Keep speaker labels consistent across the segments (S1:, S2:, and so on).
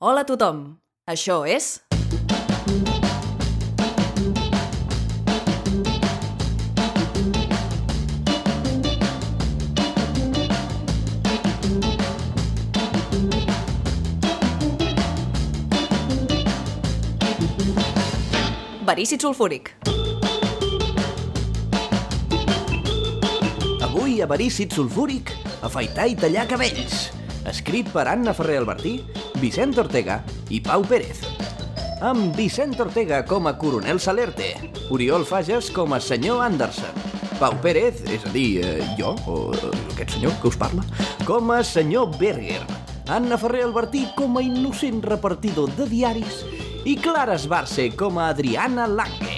S1: Hola a tothom. Això és... Verícid sulfúric.
S2: Avui, avarícid sulfúric, afaitar i tallar cabells. Escrit per Anna Ferrer Albertí, Vicent Ortega i Pau Pérez. Amb Vicent Ortega com a coronel Salerte, Oriol Fages com a senyor Anderson, Pau Pérez, és a dir, eh, jo, o eh, aquest senyor que us parla, com a senyor Berger, Anna Ferrer Albertí com a innocent repartidor de diaris i Clara Esbarce com a Adriana Lange.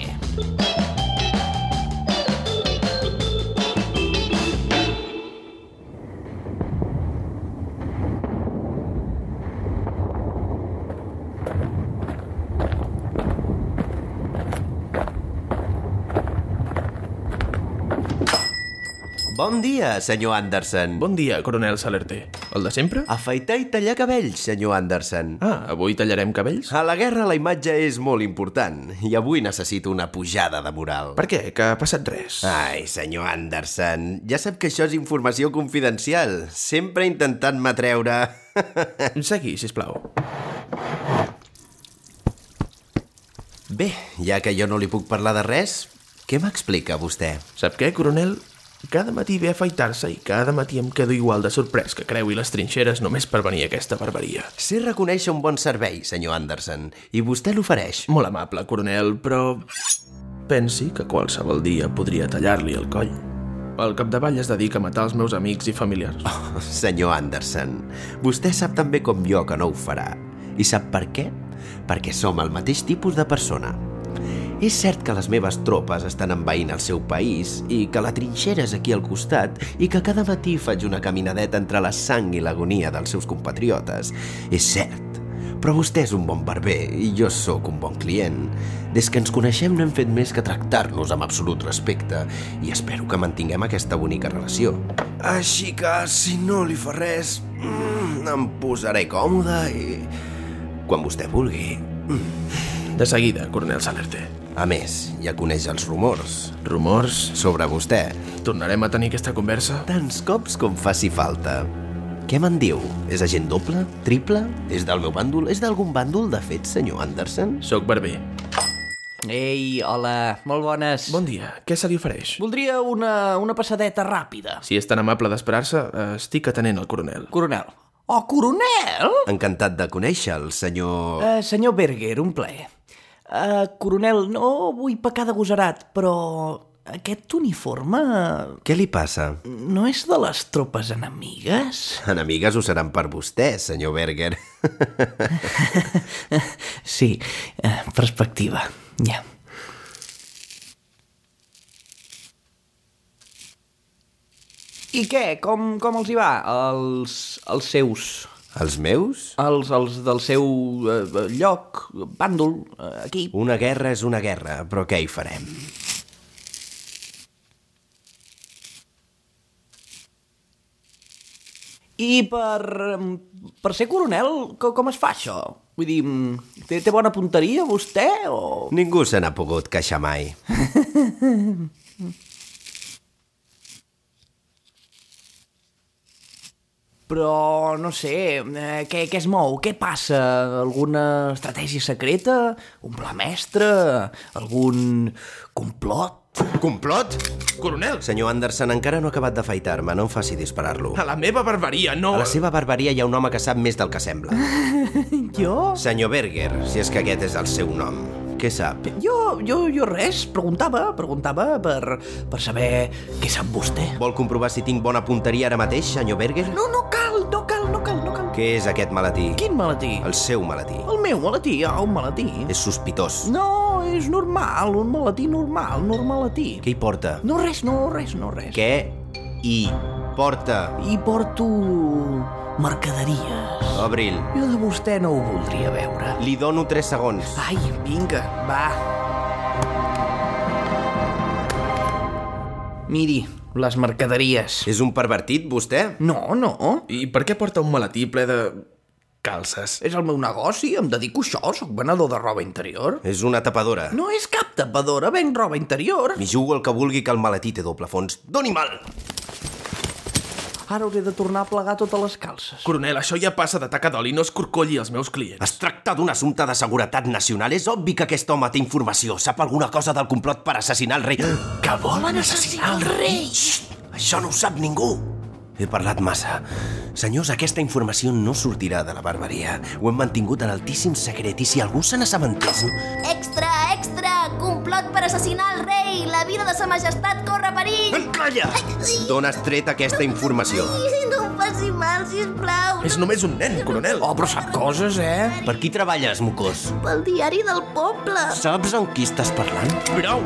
S3: Bon dia, senyor Anderson.
S4: Bon dia, coronel Salerté. El de sempre?
S3: Afaitar i tallar cabells, senyor Anderson.
S4: Ah, avui tallarem cabells?
S3: A la guerra la imatge és molt important i avui necessito una pujada de moral.
S4: Per què? Que ha passat res?
S3: Ai, senyor Anderson, ja sap que això és informació confidencial. Sempre intentant m'atreure...
S4: Segui, sisplau.
S3: Bé, ja que jo no li puc parlar de res, què m'explica vostè?
S4: Sap què, coronel? Cada matí ve a afaitar-se i cada matí em quedo igual de sorprès que creui les trinxeres només per venir a aquesta barbaria.
S3: Sé reconèixer un bon servei, senyor Anderson, i vostè l'ofereix.
S4: Molt amable, coronel, però... Pensi que qualsevol dia podria tallar-li el coll. Al capdavall es dedica a matar els meus amics i familiars.
S3: Senyor Anderson, vostè sap tan bé com jo que no ho farà. I sap per què? Perquè som el mateix tipus de persona. És cert que les meves tropes estan envaint el seu país i que la trinxera és aquí al costat i que cada matí faig una caminadeta entre la sang i l'agonia dels seus compatriotes. És cert. Però vostè és un bon barber i jo sóc un bon client. Des que ens coneixem no hem fet més que tractar-nos amb absolut respecte i espero que mantinguem aquesta bonica relació. Així que, si no li fa res, mm, em posaré còmode i... Quan vostè vulgui.
S4: De seguida, coronel Salerté.
S3: A més, ja coneix els rumors
S4: Rumors?
S3: sobre vostè,
S4: Tornarem a tenir aquesta conversa?
S3: tants cops com faci falta. Què me'n diu? És agent doble? Triple? És del meu bàndol? És d'algun bàndol, de fet, senyor Anderson?
S4: Soc barber.
S2: Ei, hola, molt bones.
S4: Bon dia, què se li ofereix?
S2: Voldria una, una passadeta ràpida.
S4: Si és tan amable d'esperar-se, eh, estic atenent al coronel.
S2: Coronel. Oh, coronel!
S3: Encantat de conèixer el senyor...
S2: Uh, senyor Berger, un plaer. Uh, coronel, no vull pecar de gosarat, però aquest uniforme
S3: Què li passa?
S2: no és de les tropes enemigues?
S3: Enemigues ho seran per vostè, senyor Berger.
S2: sí, eh, perspectiva, ja. I què? Com, com els hi va, els, els seus?
S3: Els meus?
S2: Els, els del seu eh, lloc, bàndol, eh, equip?
S3: Una guerra és una guerra, però què hi farem?
S2: I per, em, per ser coronel, co- com es fa això? Vull dir, em, té, té bona punteria vostè o...?
S3: Ningú se n'ha pogut queixar mai.
S2: Però, no sé, eh, què, què es mou? Què passa? Alguna estratègia secreta? Un pla mestre? Algun complot?
S3: Complot?
S4: Coronel,
S3: Senyor Anderson, encara no ha acabat d'afaitar-me, no em faci disparar-lo.
S4: a la meva barbaria, no...
S3: A la seva barbaria hi ha un home que sap més del que sembla.
S2: Jo?
S3: Senyor Berger, si és que aquest és el seu nom. Què sap?
S2: Jo, jo, jo res, preguntava, preguntava per, per saber què sap vostè.
S3: Vol comprovar si tinc bona punteria ara mateix, senyor Berger?
S2: No, no cal, no cal, no cal, no cal.
S3: Què és aquest malatí?
S2: Quin malatí?
S3: El seu malatí.
S2: El meu malatí, ah, un malatí.
S3: És sospitós.
S2: No, és normal, un malatí normal, normalatí.
S3: Què hi porta?
S2: No res, no res, no res.
S3: Què hi porta?
S2: I porto mercaderies.
S3: Obril,
S2: Jo de vostè no ho voldria veure.
S3: li dono 3 segons.
S2: Ai, vinga, va. Miri, les mercaderies.
S3: És un pervertit, vostè?
S2: No, no.
S4: I per què porta un malatí ple de... calces.
S2: És el meu negoci, em dedico a això, sóc venedor de roba interior.
S3: És una tapadora.
S2: No és cap tapadora, venc roba interior.
S3: M'hi jugo el que vulgui que el maletí té doble fons. Doni mal!
S2: Ara hauré de tornar a plegar totes les calces.
S4: Coronel, això ja passa de taca d'oli, no es corcolli els meus clients.
S3: Es tracta d'un assumpte de seguretat nacional. És obvi que aquest home té informació. Sap alguna cosa del complot per assassinar el rei. Que volen assassinar el rei? Xxt! Això no ho sap ningú. He parlat massa. Senyors, aquesta informació no sortirà de la barbaria. Ho hem mantingut en altíssim secret i si algú se n'assabentés...
S5: Extra, extra! Complot per assassinar el rei! La vida de sa majestat corre perill!
S3: Calla! D'on has tret aquesta informació?
S5: Ai, No em faci mal, sisplau!
S4: És només un nen, coronel.
S2: Oh, però sap coses, eh?
S3: Per qui treballes, mocós?
S5: Pel diari del poble!
S3: Saps amb qui estàs parlant?
S4: Prou!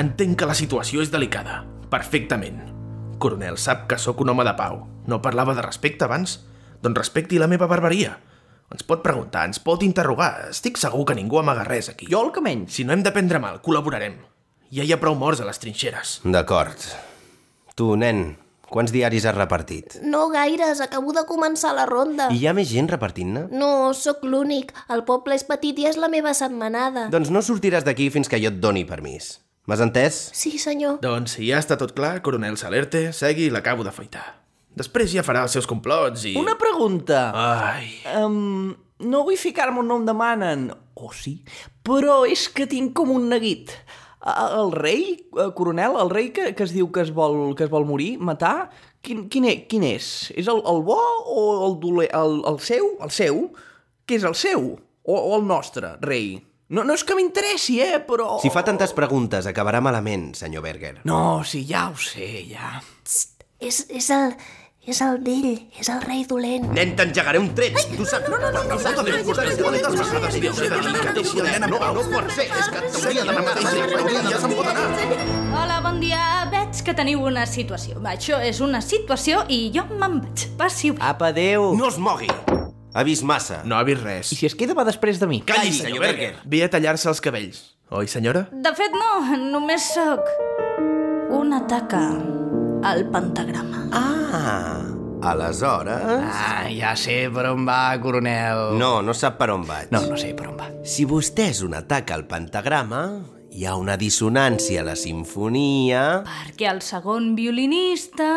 S4: Entenc que la situació és delicada. Perfectament. Coronel, sap que sóc un home de pau. No parlava de respecte abans? Doncs respecti la meva barbaria. Ens pot preguntar, ens pot interrogar. Estic segur que ningú amaga res aquí.
S2: Jo el que menys.
S4: Si no hem de prendre mal, col·laborarem. Ja hi ha prou morts a les trinxeres.
S3: D'acord. Tu, nen, quants diaris has repartit?
S5: No gaires, acabo de començar la ronda.
S3: Hi ha més gent repartint-ne?
S5: No, sóc l'únic. El poble és petit i és la meva setmanada.
S3: Doncs no sortiràs d'aquí fins que jo et doni permís. M'has entès?
S5: Sí, senyor.
S4: Doncs si ja està tot clar, coronel Salerte, segui i l'acabo d'afaitar. Després ja farà els seus complots i...
S2: Una pregunta.
S4: Ai...
S2: Um, no vull ficar-me on no em demanen, o oh, sí, però és que tinc com un neguit. A- El rei, eh, coronel, el rei que, que es diu que es vol, que es vol morir, matar, quin, quin, e- quin és? És el, el bo o el dolent? El, el seu? El seu? Què és el seu? O, o el nostre, rei? No, no és que m'interessi, eh, però...
S3: Si fa tantes preguntes, acabarà malament, senyor Berger.
S2: No, sí, ja ho sé, ja.
S5: És, és el... És el vell, és el rei dolent.
S3: Nen, t'engegaré un tret! Tu saps... No, no, no, no, no, no, no, pot ser, és que t'hauria de matar.
S6: Hola, bon dia. Veig que teniu una situació. Això és una situació i jo me'n vaig. Passi-ho bé.
S2: Apa, adéu.
S3: No es mogui! Ha vist massa.
S4: No ha vist res.
S2: I si es queda va després de mi?
S3: Calli, senyor Berger.
S4: Ve a tallar-se els cabells. Oi, senyora?
S6: De fet, no, només sóc una taca al pentagrama.
S3: Ah, aleshores...
S2: Ah, ja sé per on va, coronel.
S3: No, no sap per on vaig.
S2: No, no sé per on va.
S3: Si vostè és un atac al pentagrama, hi ha una dissonància a la sinfonia...
S6: Perquè el segon violinista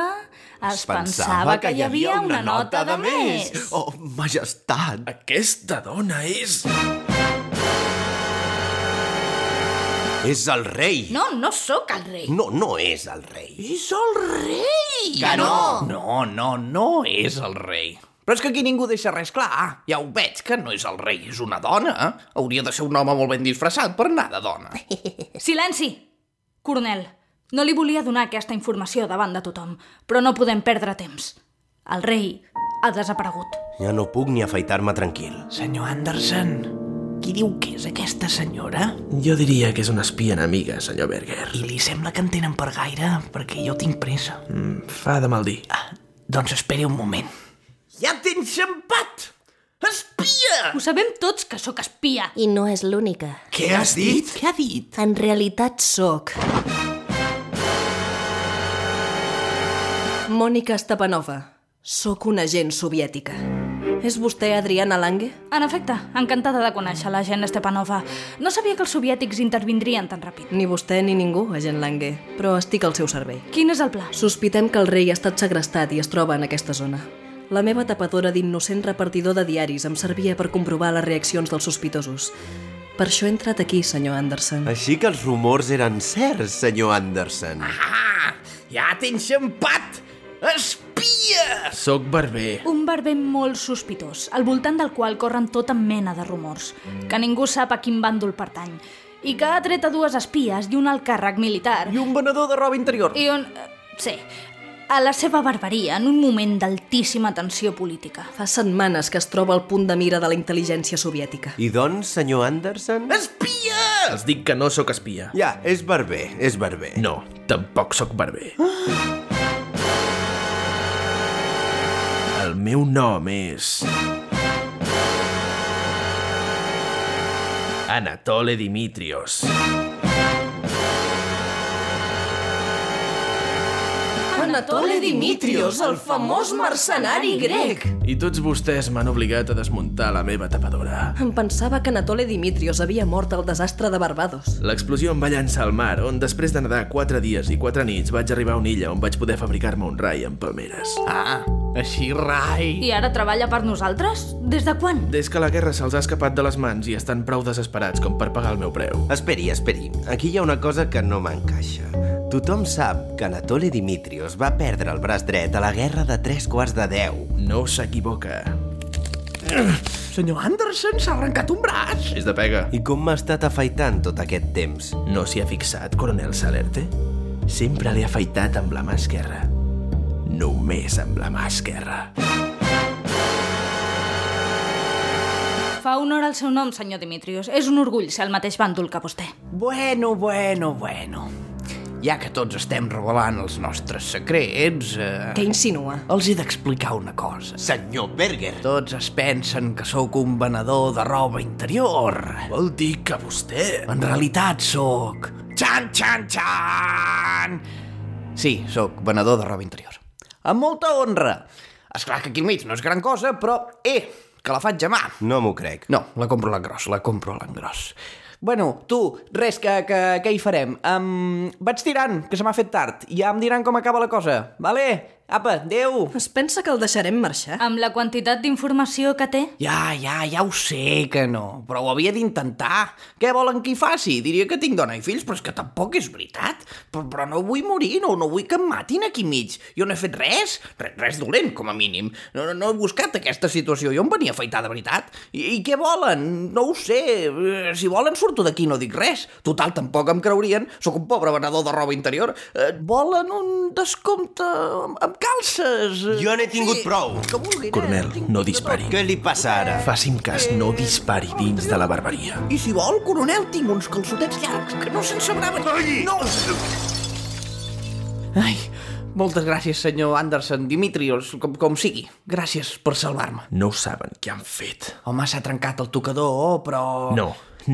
S6: es pensava, que, hi havia una, nota de més.
S3: Oh, majestat!
S4: Aquesta dona és...
S3: És el rei!
S6: No, no sóc el rei.
S3: No, no és el rei.
S2: És el rei!
S6: Mm,
S2: Que no! No, no, no és el rei. Però és que aquí ningú deixa res clar. Ja ho veig, que no és el rei, és una dona. Hauria de ser un home molt ben disfressat per anar de dona.
S6: Silenci! Coronel, no li volia donar aquesta informació davant de tothom, però no podem perdre temps. El rei ha desaparegut.
S3: Ja no puc ni afaitar-me tranquil.
S2: Senyor Anderson, qui diu que és aquesta senyora?
S4: Jo diria que és una espia enemiga, senyor Berger.
S2: I li sembla que en tenen per gaire, perquè jo tinc pressa.
S4: Mm, Fa de mal dir.
S2: Doncs esperi un moment. Ja t'he enxampat! Espia!
S6: Ho sabem tots que sóc espia.
S5: I no és l'única.
S2: Què has dit? Què ha dit?
S5: En realitat sóc.
S1: Mònica Stepanova. Sóc una agent soviètica. És vostè Adriana Lange?
S6: En efecte, encantada de conèixer la gent Stepanova. No sabia que els soviètics intervindrien tan ràpid.
S1: Ni vostè ni ningú, agent Lange, però estic al seu servei.
S6: Quin és el pla?
S1: Sospitem que el rei ha estat segrestat i es troba en aquesta zona. La meva tapadora d'innocent repartidor de diaris em servia per comprovar les reaccions dels sospitosos. Per això he entrat aquí, senyor Anderson.
S3: Així que els rumors eren certs, senyor Anderson.
S2: Ah, ja t'he enxampat! Espia!
S4: Soc barber.
S6: Un barber molt sospitós, al voltant del qual corren tota mena de rumors, que ningú sap a quin bàndol pertany, i que ha tret a dues espies i un al càrrec militar,
S2: I un venedor de roba interior.
S6: i un... eh, sí, a la seva barbaria en un moment d'altíssima tensió política.
S1: Fa setmanes que es troba al punt de mira de la intel·ligència soviètica.
S3: I doncs, senyor Anderson?
S2: Espia!
S4: Els dic que no sóc espia.
S3: Ja, és barber, és barber.
S4: No, tampoc sóc barber. El meu nom és... Anatole Dimitrios.
S6: Anatole,
S1: Anatole Dimitrios, el famós mercenari grec.
S4: I tots vostès m'han obligat a desmuntar la meva tapadora.
S1: Em pensava que Anatole Dimitrios havia mort al desastre de Barbados.
S4: L'explosió em va llançar al mar, on després de nedar 4 dies i 4 nits vaig arribar a una illa on vaig poder fabricar-me un rai amb palmeres.
S2: Ah, així, rai!
S6: I ara treballa per nosaltres? Des de quan?
S4: Des que la guerra se'ls ha escapat de les mans i estan prou desesperats com per pagar el meu preu.
S3: Esperi, esperi. Aquí hi ha una cosa que no m'encaixa. Tothom sap que Anatole Dimitrios va perdre el braç dret a la guerra de tres quarts de deu.
S4: No s'equivoca.
S2: Senyor Anderson s'ha arrencat un braç!
S4: És de pega.
S3: I com m'ha estat afaitant tot aquest temps?
S4: No s'hi ha fixat, coronel Salerte? Sempre l'he afaitat amb la mà esquerra. Només amb la mà esquerra.
S6: Fa honor al seu nom, senyor Dimitrios. És un orgull ser el mateix bàndol que vostè.
S2: Bueno, bueno, bueno. Ja que tots estem revelant els nostres secrets, eh,
S1: Què insinua?
S2: els he d'explicar una cosa.
S3: Senyor Berger!
S2: Tots es pensen que sóc un venedor de roba interior.
S4: Vol dir que vostè...
S2: En realitat sóc... Txan, txan, txan! Sí, sóc venedor de roba interior. Amb molta honra. És clar que aquí al mig no és gran cosa, però... Eh, que la faig a mà.
S3: No m'ho crec.
S2: No, la compro a l'engròs, la compro a l'engròs. Bueno, tu, res, que, que, què hi farem? Um, vaig tirant, que se m'ha fet tard. Ja em diran com acaba la cosa, vale? Apa, adeu!
S1: Es pensa que el deixarem marxar?
S6: Amb la quantitat d'informació que té,
S2: Ja, ja, ja ho sé que no, però ho havia d'intentar. Què volen que hi faci? Diria que tinc dona i fills, però és que tampoc és veritat. Però, però no vull morir, no, no vull que em matin aquí mig. Jo no he fet res, res, res dolent, com a mínim. No, no, no he buscat aquesta situació, jo em venia a afaitar de veritat. I, I què volen? No ho sé. Eh, Si volen surto d'aquí, no dic res. Total, tampoc em creurien, sóc un pobre venedor de roba interior. Eh, volen un descompte amb, amb calces. eh,
S3: Jo n'he tingut prou.
S2: Que vulgui, nen,
S4: Coronel,
S2: tinc
S4: no dispari.
S3: Què li passa ara?
S4: Faci'm cas, no dispari dins de la barbaria.
S2: I si vol, coronel, tinc uns calçotets llargs que no se'n sabraven... Ai! No! Ai, moltes gràcies, senyor Anderson, Dimitrios, com, com sigui. Gràcies per salvar-me.
S4: No saben què han fet.
S2: Home, s'ha trencat el tocador, però...
S4: No,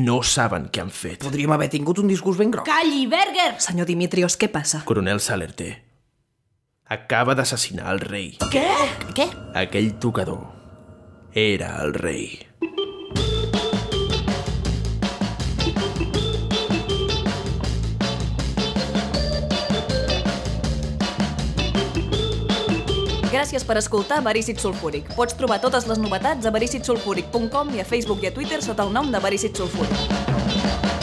S4: no saben què han fet.
S2: Podríem haver tingut un disgust ben groc.
S6: Calli, Berger!
S1: Senyor Dimitrios, què passa?
S4: Coronel Salerté acaba d'assassinar el rei.
S2: Què? Què?
S4: Aquell tocador era el rei.
S1: Gràcies per escoltar Verícit Sulfúric. Pots trobar totes les novetats a vericitsulfúric.com i a Facebook i a Twitter sota el nom de Verícit Sulfúric.